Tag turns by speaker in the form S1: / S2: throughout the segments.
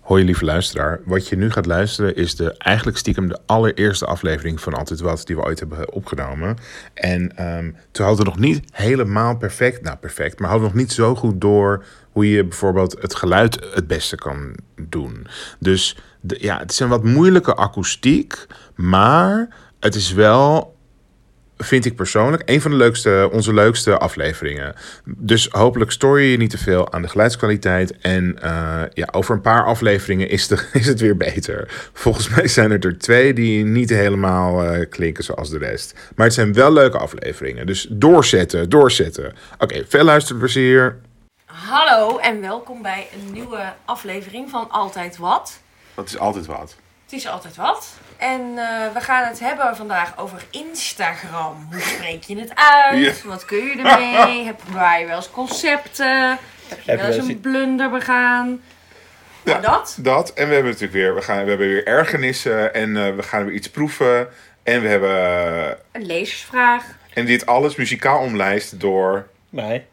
S1: Hoi lieve luisteraar, wat je nu gaat luisteren is de, eigenlijk stiekem de allereerste aflevering van Altijd Wat die we ooit hebben opgenomen. En ehm, toen hadden we nog niet helemaal perfect, nou perfect, maar hadden we nog niet zo goed door hoe je bijvoorbeeld het geluid het beste kan doen. Dus de, ja, het is een wat moeilijke akoestiek, maar het is wel vind ik persoonlijk een van de leukste, onze leukste afleveringen. Dus hopelijk stoor je je niet te veel aan de geluidskwaliteit. En eh, ja, over een paar afleveringen is, de, is het weer beter. Volgens mij zijn het er twee die niet helemaal eh, klinken zoals de rest. Maar het zijn wel leuke afleveringen. Dus doorzetten, doorzetten. Oké, veel luisterplezier.
S2: Hallo en welkom bij een nieuwe aflevering van Altijd Wat.
S1: Dat is altijd wat.
S2: Het is altijd wat. En eh, we gaan het hebben vandaag over Instagram. Hoe spreek je het uit? Wat kun je ermee? Heb waar je wel eens concepten? Heb je wel
S3: wel
S2: eens
S3: eens
S2: een blunder begaan? Nou, dat.
S1: Dat, en we hebben natuurlijk weer, we, gaan, we hebben weer ergernissen. En eh, we gaan weer iets proeven. En we hebben, eh,
S2: Een lezersvraag.
S1: en dit alles muzikaal omlijst door...
S3: Nee.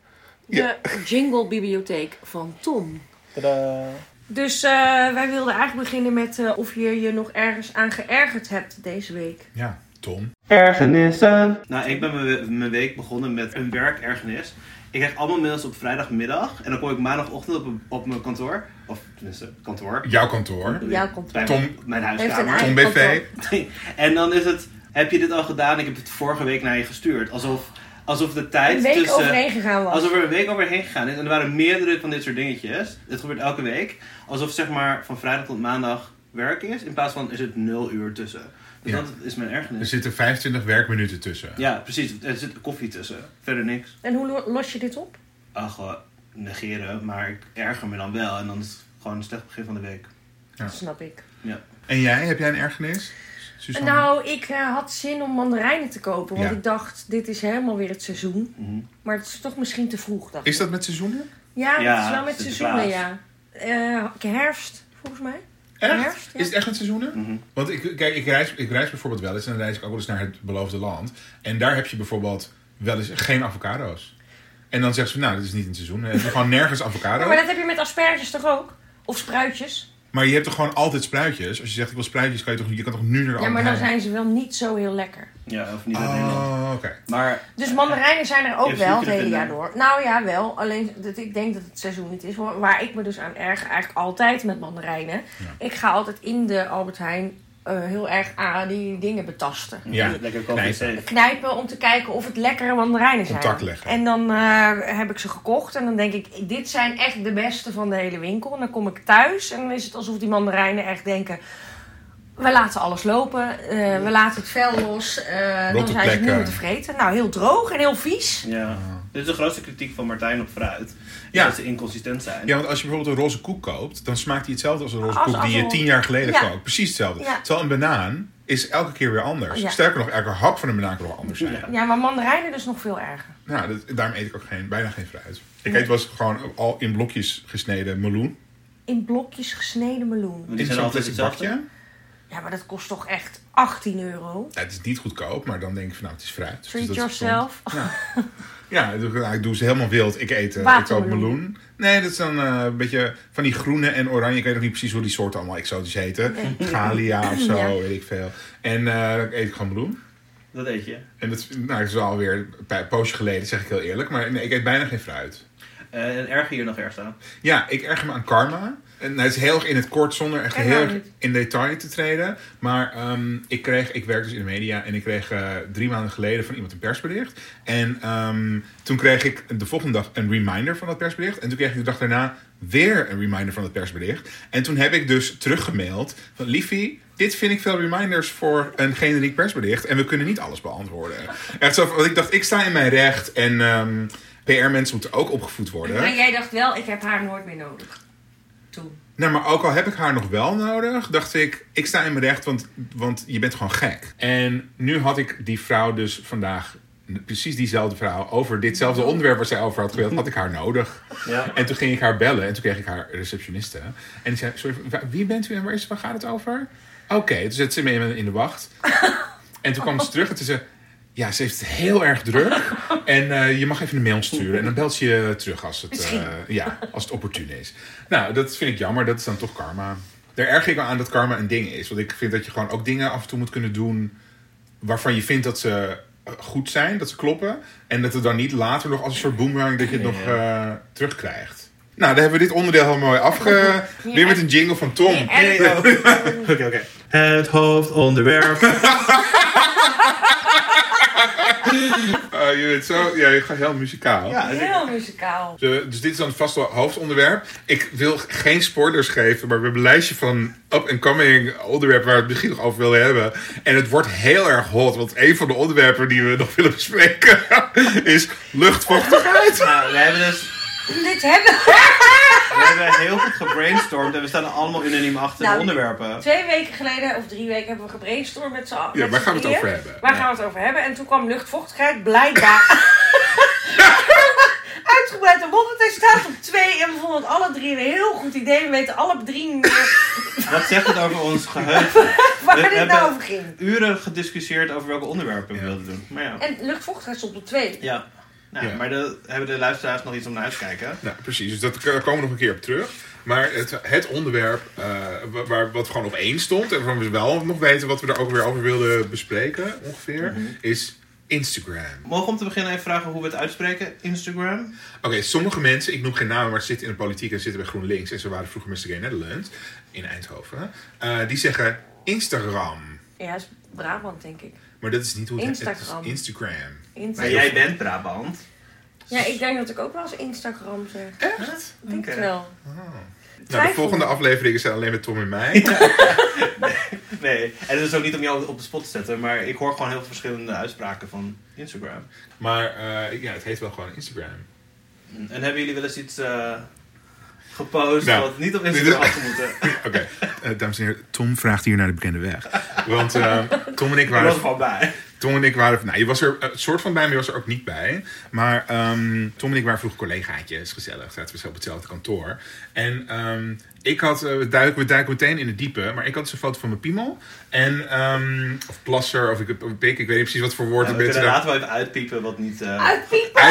S1: Ja.
S2: De jinglebibliotheek van Tom.
S3: Tadaa.
S2: Dus eh, wij wilden eigenlijk beginnen met eh, of je je nog ergens aan geërgerd hebt deze week.
S1: Ja, Tom.
S3: Ergernissen.
S4: Nou, ik ben mijn- mijn week begonnen met een werkergernis. Ik krijg allemaal mails op vrijdagmiddag en dan kom ik maandagochtend op, op mijn kantoor. Of tenminste, kantoor.
S1: Jouw kantoor.
S2: Jouw kantoor.
S4: Bij
S1: Tom-
S4: mijn
S2: Heeft een
S4: huiskamer.
S2: eigen
S1: Tom BV.
S2: kantoor.
S4: En dan is het, heb je dit al gedaan? Ik heb het vorige week naar je gestuurd. Alsof, alsof de tijd
S2: Een week
S4: tussen...
S2: overheen gegaan was.
S4: Alsof er een week overheen gegaan is. En er waren meerdere van dit soort dingetjes. Het gebeurt elke week. Alsof zeg maar van vrijdag tot maandag werk is. In plaats van is het nul uur tussen. Dus
S1: Ja.
S4: dat is mijn
S1: Er
S4: ergernis.
S1: zitten 25 werkminuten tussen.
S4: Ja, precies. Er zit koffie tussen. Verder niks.
S2: En hoe lo- los je dit op?
S4: Ah, gewoon negeren, maar ik erger me dan wel. En dan is het gewoon een slecht begin van de week.
S2: Dat snap ik.
S4: Ja.
S1: En jij, heb jij een ergernis? Suzanne?
S2: Nou, ik eh, had zin om mandarijnen te kopen. Want
S1: Dus Ja.
S2: ik dacht, dit is helemaal weer het seizoen.
S4: Mhm.
S2: Maar het is toch misschien te vroeg. Dacht
S1: Is
S2: ik.
S1: dat met seizoenen?
S2: Ja,
S4: Ja,
S2: het is wel met
S4: Sinterklaas.
S2: seizoenen, ja. Eh, herfst, volgens mij.
S1: Echt?
S2: Herfst, ja.
S1: Is het echt met seizoenen?
S4: Mhm.
S1: Want ik, kijk, ik, reis, ik reis bijvoorbeeld wel eens en dan reis ik ook wel eens naar het beloofde land. En daar heb je bijvoorbeeld wel eens geen avocado's. En dan zeggen ze, nou, dit is niet in het seizoen. We hebben gewoon nergens
S2: Ja,
S1: avocado.
S2: maar dat heb je met asperges toch ook? Of spruitjes?
S1: Maar je hebt toch gewoon altijd spruitjes? Als je zegt, ik wil spruitjes, kan je toch, je kan toch nu naar de
S2: Ja, maar dan
S1: Albert
S2: zijn ze wel niet zo heel lekker.
S4: ja, of niet uit
S1: Heijn?
S4: Nederland.
S1: Oh, oké.
S4: Maar
S2: Dus mandarijnen zijn er ook
S4: Eerst
S2: wel het
S4: zoeken
S2: hele
S4: vinden.
S2: jaar door. Nou ja, wel. Alleen dat ik denk dat het seizoen niet is. hoor. Waar ik me dus aan erg eigenlijk altijd met mandarijnen. Ik ga altijd in de Albert Heijn eh, heel erg aan die dingen betasten.
S1: Ja.
S4: eh, lekker koffie
S1: Nee.
S4: safe.
S2: Knijpen om te kijken of het lekkere mandarijnen zijn.
S1: Contact leggen.
S2: En dan eh, heb ik ze gekocht. En dan denk ik, dit zijn echt de beste van de hele winkel. En dan kom ik thuis en dan is het alsof die mandarijnen echt denken... We laten alles lopen, eh, we laten het vel los. eh, dan
S1: Rotte
S2: zijn ze niet
S1: plekken.
S2: meer te vreten. Nou, heel droog en heel vies.
S4: Ja. Dit is de grootste kritiek van Martijn op fruit.
S1: Oh. Ja.
S4: Dat ze inconsistent zijn.
S1: Ja, want als je bijvoorbeeld een roze koek koopt, dan smaakt die hetzelfde als een roze
S2: Als-
S1: koek
S2: als
S1: die je
S2: een-
S1: tien jaar geleden
S2: Ja.
S1: koopt. Precies hetzelfde.
S2: Ja.
S1: Terwijl een banaan is elke keer weer anders.
S2: Ja.
S1: Sterker nog, elke hap van een banaan kan nog anders zijn.
S4: Ja.
S2: Ja, maar mandarijnen dus nog veel erger.
S1: Nou, dat, daarom eet ik ook geen, bijna geen fruit. Ik eet was gewoon al in blokjes gesneden meloen.
S2: In blokjes gesneden meloen.
S4: Want die
S1: in
S4: zijn
S1: zo'n
S4: altijd
S1: plastic
S4: hetzelfde.
S1: bakje.
S2: Ja, maar dat kost toch echt 18 euro?
S1: Ja, het is niet goedkoop, maar dan denk ik van nou, het is fruit. Dus
S2: Treat
S1: dat is
S2: yourself.
S1: gezond. Ja, ja ik, doe, nou, ik doe ze helemaal wild. Ik eet eh, ik koop
S2: Watermeloen.
S1: meloen. Nee, dat is dan eh, een beetje van die groene en oranje. Ik weet nog niet precies hoe die soorten allemaal exotisch heten. Galia of zo,
S2: Ja.
S1: weet ik veel. En eh, dan eet ik gewoon meloen.
S4: Dat eet je.
S1: En dat nou, het is alweer een pa- poosje geleden, zeg ik heel eerlijk. Maar nee, ik eet bijna geen fruit.
S4: Eh, en erger hier nog erg staan.
S1: Ja, ik erger me aan karma. En nou, het is heel erg in het kort zonder echt
S2: Ken
S1: heel
S2: haar
S1: erg
S2: niet.
S1: in detail te treden. Maar ehm, ik kreeg, ik werk dus in de media en ik kreeg eh, drie maanden geleden van iemand een persbericht. En ehm, toen kreeg ik de volgende dag een reminder van dat persbericht. En toen kreeg ik de dag daarna weer een reminder van dat persbericht. En toen heb ik dus teruggemaild van Liefie. Dit vind ik veel reminders voor een generiek persbericht. En we kunnen niet alles beantwoorden. Echt zo, van- want ik dacht, ik sta in mijn recht. En ehm, PR-mensen moeten ook opgevoed worden.
S2: Maar jij dacht wel, ik heb haar nooit meer nodig. Toen.
S1: Nou, maar ook al heb ik haar nog wel nodig, dacht ik, ik sta in mijn recht, want, want je bent gewoon gek. En nu had ik die vrouw dus vandaag, precies diezelfde vrouw, over ditzelfde onderwerp waar zij over had gewild, had ik haar nodig.
S4: Ja.
S1: En toen ging ik haar bellen en toen kreeg ik haar receptioniste. En die zei, sorry, wa- wie bent u en waar, is, dus waar gaat het over? Oké, toen zette ze me in- in de wacht. En toen kwam ze terug en toen zei Ja, ze heeft het heel erg druk. en eh, je mag even een mail sturen. En dan belt ze je terug als het, eh, ja, als het opportun is. Nou, dat vind ik jammer. Dat is dan toch karma. Daar erg ik me aan dat karma een ding is. Want ik vind dat je gewoon ook dingen af en toe moet kunnen doen... waarvan je vindt dat ze eh, goed zijn, dat ze kloppen. En dat het dan niet later nog als een soort boomerang... dat je het nog eh, terugkrijgt. Nou, daar hebben we dit onderdeel helemaal mooi afge... Weer met een jingle van Tom.
S2: Nee, echt.
S4: Oké, oké. Het hoofdonderwerp.
S1: Eh, je bent zo... Ja, je gaat heel muzikaal.
S4: ja, dus dat is-
S2: Heel muzikaal.
S1: Eh, dus dit is dan vast wel hoofdonderwerp. Ik wil g- geen spoilers geven, maar we hebben een lijstje van up-and-coming onderwerpen waar we het misschien nog over willen hebben. En het wordt heel erg hot, want een van de onderwerpen die we nog willen bespreken is luchtvochtigheid.
S4: Nou, we hebben dus
S2: Dit hebben
S4: we hebben heel goed gebrainstormd en we staan er allemaal unaniem achter
S2: Nou,
S4: de onderwerpen.
S2: Twee weken geleden of drie weken hebben we gebrainstormd met z'n allen.
S1: Ja, waar gaan we het over hebben?
S2: Waar
S1: Ja.
S2: gaan we het over hebben? En toen kwam luchtvochtigheid blijkbaar. Uitgebreid op want Hij staat op twee en we vonden het alle drie een heel goed idee. We weten alle drie niet meer
S4: Wat zegt het over ons geheugen?
S2: waar
S4: We
S2: dit
S4: hebben-
S2: nou over ging.
S4: Uren gediscussieerd over welke onderwerpen we wilden doen. Maar ja.
S2: En luchtvochtigheid stond op twee.
S4: ja. Nou,
S1: Ja.
S4: Maar de, hebben de luisteraars nog iets om naar uit te kijken?
S1: Nou, precies, dus dat- daar komen we nog een keer op terug. Maar het, het onderwerp eh, wa- waar, wat gewoon op één stond en waarvan we wel nog weten wat we er ook weer over wilden bespreken, ongeveer, is Instagram.
S4: Mogen we om te beginnen even vragen hoe we het uitspreken? Instagram?
S1: Oké, sommige mensen, ik noem geen namen, maar ze zitten in de politiek en ze zitten bij GroenLinks. En ze waren vroeger Mr. Gay Netherlands in Eindhoven. Eh, die zeggen Instagram.
S2: Ja, dat is Brabant, denk ik.
S1: Maar dat is niet hoe het
S2: Instagram.
S1: Het is Instagram.
S2: Insta-
S4: Maar jij bent Brabant.
S2: Ja, ik denk dat ik ook wel eens Instagram zeg. Ik
S1: Echt?
S2: denk het
S4: Oké.
S2: wel.
S1: Nou, de
S2: Twijfel.
S1: volgende afleveringen zijn alleen met Tom en mij.
S4: Nee, en het is ook niet om jou op de spot te zetten, maar ik hoor gewoon heel veel verschillende uitspraken van Instagram.
S1: maar eh, ja, het heet wel gewoon Instagram.
S4: En hebben jullie wel eens iets eh, gepost
S1: Nou,
S4: wat niet op
S1: dit is-
S4: Instagram had moeten?
S1: Oké, eh, dames en heren, Tom vraagt hier naar de bekende weg. Want eh, Tom en ik
S4: Ik was er
S1: waren
S4: gewoon bij.
S1: Tom en ik waren. Nou, je was er een soort van bij, maar je was er ook niet bij. Maar ehm, Tom en ik waren vroeger collegaatjes, gezellig. Zaten we zo op hetzelfde kantoor. En ehm, ik had. eh, we, duiken, we duiken meteen in het diepe, maar ik had dus een foto van mijn piemel. En. ehm, of plasser, of ik, of pik, ik weet niet precies wat voor woord
S4: Nou,
S1: er
S4: we
S1: beter
S4: kunnen laten wel even uitpiepen wat niet, eh,
S2: Uitpiepen!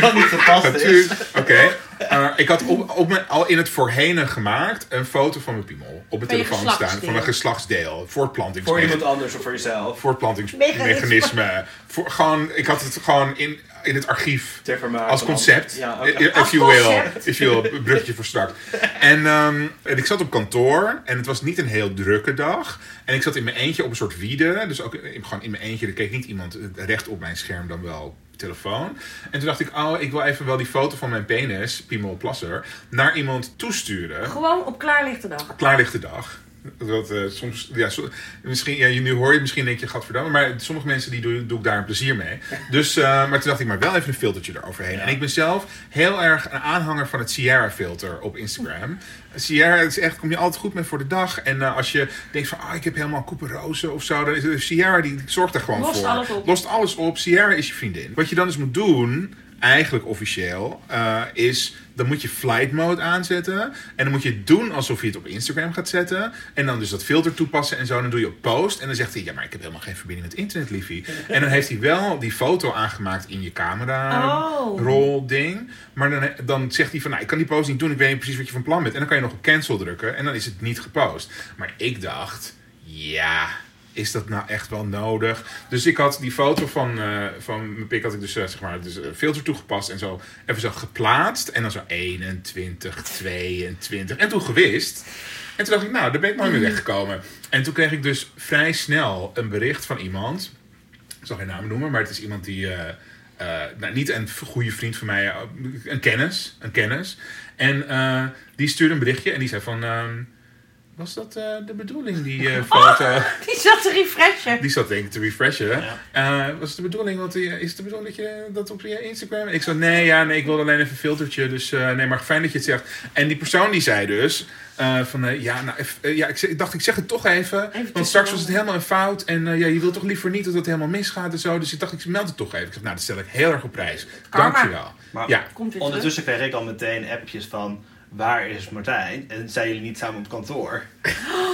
S4: wat niet gepast is.
S1: Natuurlijk. Oké. Eh, ik had op, op mijn, al in het voorhenen gemaakt een foto van mijn piemel. Op mijn
S2: Van je
S1: telefoon staan. Van
S2: geslachtsdeel.
S1: een geslachtsdeel.
S4: Voor
S1: Voortplantingsmechanisme.
S4: iemand anders of voor jezelf.
S1: Voortplantingsmechanisme. Voor, gewoon, ik had het gewoon in, in het archief.
S4: Ter vermaak
S1: Als
S4: van
S1: concept.
S4: anderen.
S1: If-
S4: Ja, oké.
S1: If you
S2: Als
S1: will.
S2: concept.
S1: If you will. Bruggetje voor straks. En, ehm, en ik zat op kantoor. En het was niet een heel drukke dag. En ik zat in mijn eentje op een soort wiede. Dus ook in- gewoon in mijn eentje. Er keek niet iemand eh, recht op mijn scherm dan wel telefoon. En toen dacht ik, oh, ik wil even wel die foto van mijn penis, Piemel Plasser, naar iemand toesturen.
S2: Gewoon op klaarlichte dag.
S1: Klaarlichte dag. Dat, eh, soms, ja, so- misschien, ja, je- nu hoor je misschien denk je, gadverdamme, maar sommige mensen die doe, doe ik daar een plezier mee. Dus, eh, maar toen dacht ik, maar wel even een filtertje eroverheen. En ik ben zelf heel erg een aanhanger van het Sierra filter op Instagram. Sierra is echt, kom je altijd goed mee voor de dag. En eh, als je denkt van, ah, ik heb helemaal koeperozen of zo, dan is het- Sierra die zorgt er gewoon
S2: Lost
S1: voor.
S2: alles op.
S1: Lost alles op, Sierra is je vriendin. Wat je dan dus moet doen, eigenlijk officieel, eh, is dan moet je flight mode aanzetten. En dan moet je doen alsof je het op Instagram gaat zetten. En dan dus dat filter toepassen en zo. Dan doe je op post. En dan zegt hij, ja, maar ik heb helemaal geen verbinding met internet, liefie. En dan heeft hij wel die foto aangemaakt in je camera
S2: Oh.
S1: roll ding. Maar dan, dan zegt hij van, nou, ik kan die post niet doen. Ik weet niet precies wat je van plan bent. En dan kan je nog op cancel drukken. En dan is het niet gepost. Maar ik dacht, ja, is dat nou echt wel nodig? Dus ik had die foto van, eh, van mijn pik had ik dus, eh, zeg maar, dus eh, filter toegepast. En zo even zo geplaatst. En dan zo 21, 22. En toen gewist. En toen dacht ik, nou, daar ben ik nooit meer weggekomen. En toen kreeg ik dus vrij snel een bericht van iemand. Ik zal geen naam noemen, maar het is iemand die. eh, eh, nou, niet een v- goede vriend van mij, eh, een kennis. Een kennis. En eh, die stuurde een berichtje en die zei van. ehm, was dat eh, de bedoeling, die eh, foto?
S2: Die zat te refreshen.
S1: Die zat denk ik te refreshen. Eh, was het de bedoeling? Want eh, is het de bedoeling dat je dat op je Instagram... En ik zei, nee, ja, nee, ik wilde alleen even een filtertje. Dus eh, nee, maar fijn dat je het zegt. En die persoon die zei dus... eh, van, eh, ja, nou, eff- eh, ja ik, zeg- ik dacht, ik zeg het toch even. want straks was het helemaal een fout. En eh, ja, je wilt toch liever niet dat het helemaal misgaat en zo. Dus ik dacht, ik meld het toch even. Ik zeg, nou, dat stel ik heel erg op prijs.
S2: Karma.
S1: Dankjewel.
S4: Maar-
S1: Ja,
S2: Komt weer terug.
S4: Ondertussen kreeg ik al meteen appjes van... waar is Martijn? En zijn jullie niet samen op kantoor?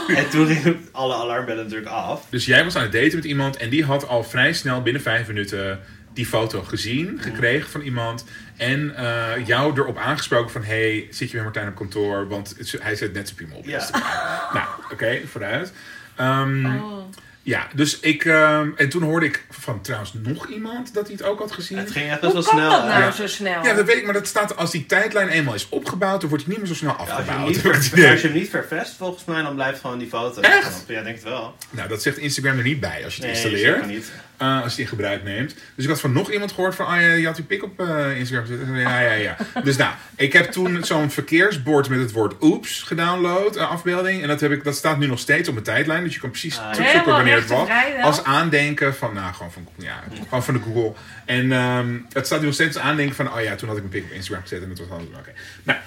S4: en toen gingen alle alarmbellen natuurlijk af.
S1: Dus jij was aan het daten met iemand en die had al vrij snel binnen vijf minuten die foto gezien, gekregen van iemand. En eh, jou erop aangesproken van, hey, zit je bij Martijn op kantoor? Want het- hij zet net zijn piemel op
S4: Ja.
S1: Instagram. nou, oké, vooruit. Ehm,
S2: Oh.
S1: Ja, dus ik... ehm, en toen hoorde ik van trouwens nog iemand dat hij het ook had gezien.
S4: Het ging echt
S2: Hoe
S4: best
S2: kan
S4: wel snel.
S2: dat
S4: hè?
S1: Ja.
S2: nou zo snel?
S1: Ja, dat weet ik, maar dat staat als die tijdlijn eenmaal is opgebouwd, dan wordt hij niet meer zo snel
S4: Ja, Als je, hem
S1: afgebouwd.
S4: niet ver, als je hem niet vervest, volgens mij, dan blijft gewoon die foto.
S1: Echt?
S4: Ja, ik denk het wel.
S1: Nou, dat zegt Instagram er niet bij als je het installeert.
S4: zeker niet.
S1: Eh, als je die in gebruik neemt. Dus ik had van nog iemand gehoord van, ah ja, je had die pik op eh, Instagram gezet. Ja, ja, ja. dus nou, ik heb toen zo'n verkeersbord met het woord oeps gedownload, eh, afbeelding. En dat, heb ik, dat staat nu nog steeds op mijn tijdlijn, dus je kan precies
S4: Ah,
S1: terugzoeken
S2: Helemaal
S1: wanneer het was.
S2: rechtenvrij wel.
S1: Als aandenken van, nou, gewoon van, ja, gewoon van de Google. En ehm, het staat nu nog steeds als aandenken van, oh ja, toen had ik mijn pik op Instagram gezet en dat was anders. Oké. Nou,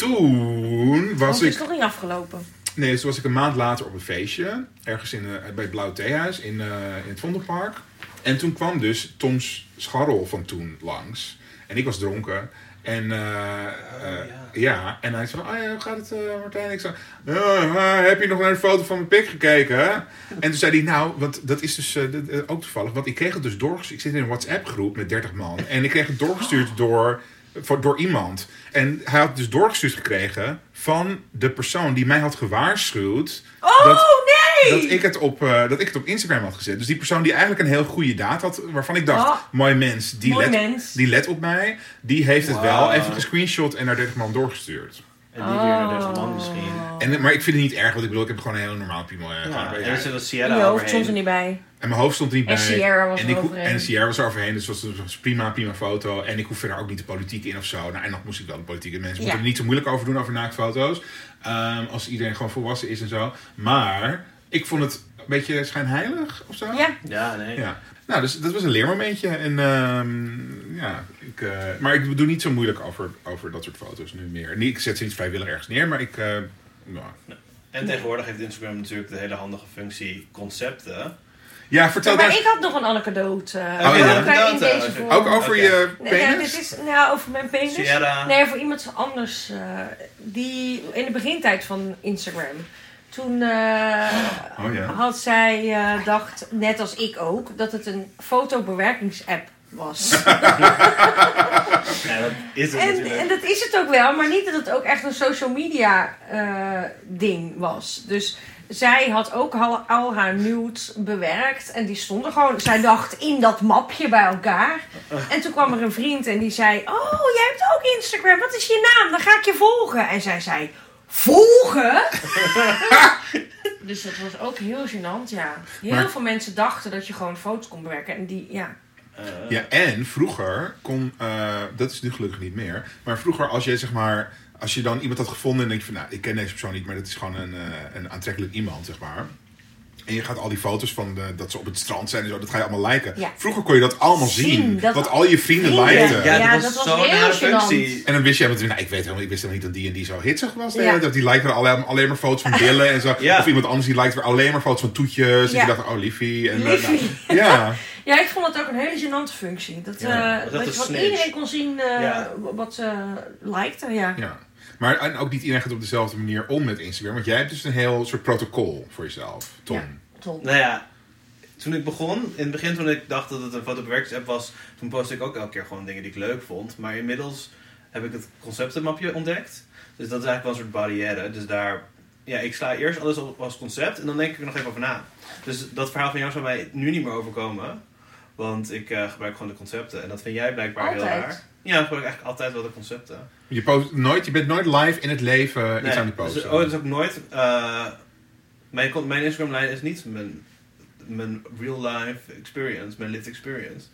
S1: toen was
S2: Want het
S1: ik...
S2: is nog niet afgelopen.
S1: Nee, dus toen was ik een maand later op een feestje. Ergens in, eh, bij het Blauw Theehuis in, eh, in het Vondelpark. En toen kwam dus Toms scharrel van toen langs. En ik was dronken. En eh, eh, ja. en hij zei van, ah ja, hoe gaat het eh, Martijn? Ik zei, "Ja, eh, heb je nog naar de foto van mijn pik gekeken? En toen zei hij, nou, want dat is dus eh, dat, eh, ook toevallig. Want ik kreeg het dus doorgestuurd. Ik zit in een WhatsApp groep met 30 man. En ik kreeg het doorgestuurd door, voor, door iemand. En hij had het dus doorgestuurd gekregen van de persoon die mij had gewaarschuwd.
S2: Oh nee!
S1: Dat ik, het op, eh, dat ik het op Instagram had gezet. Dus die persoon die eigenlijk een heel goede daad had, waarvan ik dacht,
S2: Oh.
S1: mooi mens, die,
S2: Mooi
S1: let,
S2: mens.
S1: die let op mij, die heeft het wel
S4: Wauw.
S1: even gescreenshot en naar 30 man doorgestuurd.
S4: En die weer naar deze
S2: Oh.
S4: man misschien.
S1: En, maar ik vind het niet erg, want ik bedoel, ik heb gewoon een hele normale piemel. eh,
S4: Ja,
S1: gewoon een
S4: en er
S1: beetje-
S4: zit een
S2: In
S4: Sierra
S2: je hoofd stond er
S4: overheen.
S2: niet bij.
S1: en mijn hoofd stond er niet bij.
S2: En Sierra was
S1: en,
S2: er
S1: ik, hoef-
S2: overheen.
S1: en Sierra was er overheen, dus dat was, was prima, prima foto. En ik hoef verder ook niet de politiek in of zo. Nou, en dat moest ik wel de politiek in. Mensen
S2: Ja.
S1: moeten er niet zo moeilijk over doen over naaktfoto's. Ehm, als iedereen gewoon volwassen is en zo. Maar ik vond het een beetje schijnheilig of zo.
S2: Ja,
S4: Ja, nee.
S1: Ja. Nou, dus dat was een leermomentje. En, ehm, ja, ik, eh, maar ik doe niet zo moeilijk over, over dat soort foto's nu meer. Niet, ik zet ze niet vrijwillig ergens neer, maar ik... eh, nou.
S4: En tegenwoordig heeft Instagram natuurlijk de hele handige functie concepten.
S1: Ja, vertel
S2: maar
S1: daar
S2: ik had nog een anekdote. eh,
S4: ja.
S2: maar ook
S4: Anekdote,
S2: in deze
S4: oké.
S2: vorm.
S1: ook over
S4: Oké.
S1: je
S2: Nee,
S1: penis?
S2: nou, dit is nou, over mijn penis.
S4: Sierra.
S2: Nee, voor iemand anders. eh, die in de begintijd van Instagram. Toen eh,
S1: Oh ja.
S2: had zij eh, dacht, net als ik ook, dat het een fotobewerkingsapp was.
S4: Ja, dat is het
S2: en,
S4: natuurlijk.
S2: en dat is het ook wel, maar niet dat het ook echt een social media eh, ding was. Dus zij had ook al, al haar nudes bewerkt en die stonden gewoon, zij dacht, in dat mapje bij elkaar. En toen kwam er een vriend en die zei, oh, jij hebt ook Instagram, wat is je naam? Dan ga ik je volgen. En zij zei, volgen? dus dat was ook heel gênant, ja. Heel
S1: Maar-
S2: veel mensen dachten dat je gewoon foto's kon bewerken en die, ja.
S4: Eh,
S1: Ja, en vroeger kon, eh, dat is nu gelukkig niet meer, maar vroeger als je zeg maar, als je dan iemand had gevonden en denk je van, nou, ik ken deze persoon niet, maar dat is gewoon een, eh, een aantrekkelijk iemand, zeg maar. En je gaat al die foto's van de, dat ze op het strand zijn en zo, dat ga je allemaal liken.
S2: Ja.
S1: Vroeger kon je dat allemaal zien,
S2: Zien, dat-
S1: wat al je vrienden,
S2: Vrienden.
S1: likten.
S4: ja,
S2: Ja,
S4: dat
S2: dat
S4: was
S2: was
S4: zo'n
S2: heel
S4: nare
S2: gênant.
S4: functie.
S1: En dan wist je helemaal, niet- nou, ik, weet helemaal, ik wist helemaal niet dat die en die zo hitsig was.
S2: Ja.
S1: Dat die likte alleen, alleen maar foto's van billen en zo.
S4: Ja.
S1: Of iemand anders die likte weer alleen maar foto's van toetjes.
S2: Ja.
S1: En je dacht, oh, liefie. En, eh,
S2: Liefie.
S1: nou, ja.
S2: Ja, ik vond dat ook een hele gênante functie. Dat,
S1: Ja,
S2: eh,
S4: dat
S2: dat,
S4: is
S2: je van
S4: snitch.
S2: iedereen kon zien eh,
S4: Ja.
S2: wat ze likte, ja.
S1: Ja. Maar en ook niet iedereen gaat op dezelfde manier om met Instagram. Want jij hebt dus een heel soort protocol voor jezelf, Tom.
S2: Ja. Tom.
S4: Nou ja, toen ik begon, in het begin toen ik dacht dat het een fotobewerkingsapp was, toen postte ik ook elke keer gewoon dingen die ik leuk vond. Maar inmiddels heb ik het conceptenmapje ontdekt. Dus dat is eigenlijk wel een soort barrière. Dus daar, ja, ik sla eerst alles op als concept en dan denk ik er nog even over na. Dus dat verhaal van jou zou mij nu niet meer overkomen. Want ik eh, gebruik gewoon de concepten. En dat vind jij blijkbaar heel
S2: Altijd.
S4: raar. Ja, ik gebruik eigenlijk altijd wel de concepten.
S1: Je, post nooit, je bent nooit live in het leven eh, iets aan het
S4: dus-
S1: posten.
S4: oh, dat is ook nooit. eh, mijn, con- mijn Instagram-lijn is niet mijn, mijn real-life experience, mijn lived experience.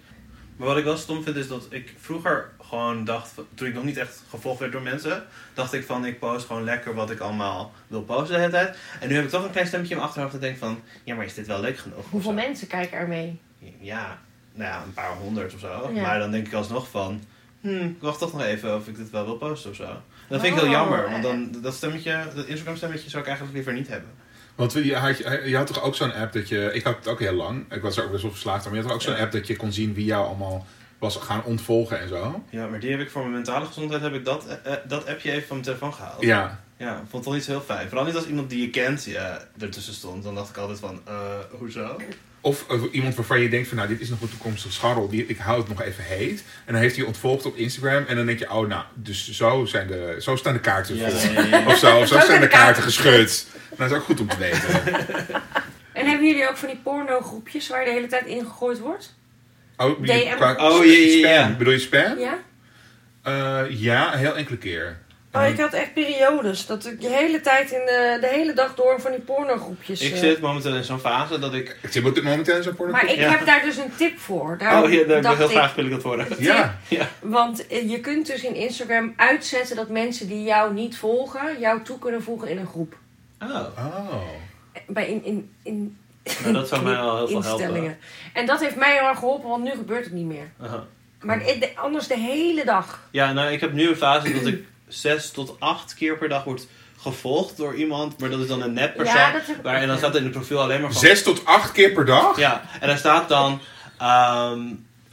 S4: Maar wat ik wel stom vind is dat ik vroeger gewoon dacht, van- toen ik nog niet echt gevolgd werd door mensen, dacht ik van ik post gewoon lekker wat ik allemaal wil posten de hele tijd. En nu heb ik toch een klein stemmetje in mijn achterhoofd dat denkt van, ja maar is dit wel leuk genoeg? of
S2: Hoeveel
S4: zo?
S2: mensen kijken er mee?
S4: Ja, nou ja, een paar honderd of zo.
S2: Ja.
S4: Maar dan denk ik alsnog van, hmm, ik wacht toch nog even of ik dit wel wil posten of zo. En dat vind ik
S2: Oh,
S4: heel jammer,
S2: eh.
S4: want dan dat stemmetje, dat Instagram stemmetje zou ik eigenlijk liever niet hebben.
S1: Want je had, je had toch ook zo'n app dat je... Ik had het ook heel lang. Ik was er ook best wel verslaafd aan. Maar je had toch ook zo'n
S4: Ja.
S1: app dat je kon zien wie jou allemaal was gaan ontvolgen en zo.
S4: Ja, maar die heb ik voor mijn mentale gezondheid heb ik dat, eh, eh, dat appje even van mijn telefoon gehaald.
S1: Ja,
S4: Ja, ik vond het wel niet zo heel fijn. Vooral niet als iemand die je kent ja, ertussen stond. Dan dacht ik altijd van, eh, hoezo?
S1: Of eh, iemand waarvan je denkt van, nou, dit is nog een toekomstig scharrel, die, ik hou het nog even heet. En dan heeft hij je ontvolgd op Instagram en dan denk je, oh, nou, dus zo, zijn de, zo staan de kaarten
S4: Ja,
S1: vol.
S4: ja, ja.
S1: Of zo, of zo
S2: Zo
S1: zijn de kaarten
S2: kaarten.
S1: geschud. Nou, dat is ook goed om te weten.
S2: En hebben jullie ook van die porno-groepjes waar de hele tijd ingegooid wordt?
S1: Oh, je-
S2: DM.
S4: Oh, ja, ja, ja.
S1: spam. Bedoel je spam?
S2: Ja?
S1: Eh, ja, heel enkele keer.
S2: Oh, ik had echt periodes. Dat ik de hele tijd, in de, de hele dag door van die pornogroepjes...
S4: Ik
S2: eh,
S4: zit momenteel in zo'n fase dat ik...
S1: Ik zit op dit moment in zo'n porno.
S2: Maar ik
S4: Ja.
S2: heb daar dus een tip voor. Daarom
S4: Oh, ja, daar wil ik
S2: dacht
S4: heel
S2: ik,
S4: graag wil ik dat horen.
S1: Ja,
S2: Want eh, je kunt dus in Instagram uitzetten dat mensen die jou niet volgen, jou toe kunnen voegen in een groep.
S4: Oh,
S1: oh.
S2: Eh, Bij in, in, in
S4: nou dat zou mij wel heel veel helpen.
S2: instellingen. En dat heeft mij heel erg geholpen, want nu gebeurt het niet meer.
S4: Aha.
S2: Maar
S4: Hm.
S2: ik- de- anders de hele dag.
S4: Ja, nou, ik heb nu een fase dat ik zes tot acht keer per dag word gevolgd door iemand. Maar dat is dan een nep persoon.
S2: Ja, dat heb ik
S4: waar, en dan
S2: ook,
S4: staat er in het profiel alleen maar van...
S1: Zes tot acht keer per dag?
S4: Ja, en daar staat dan... ehm,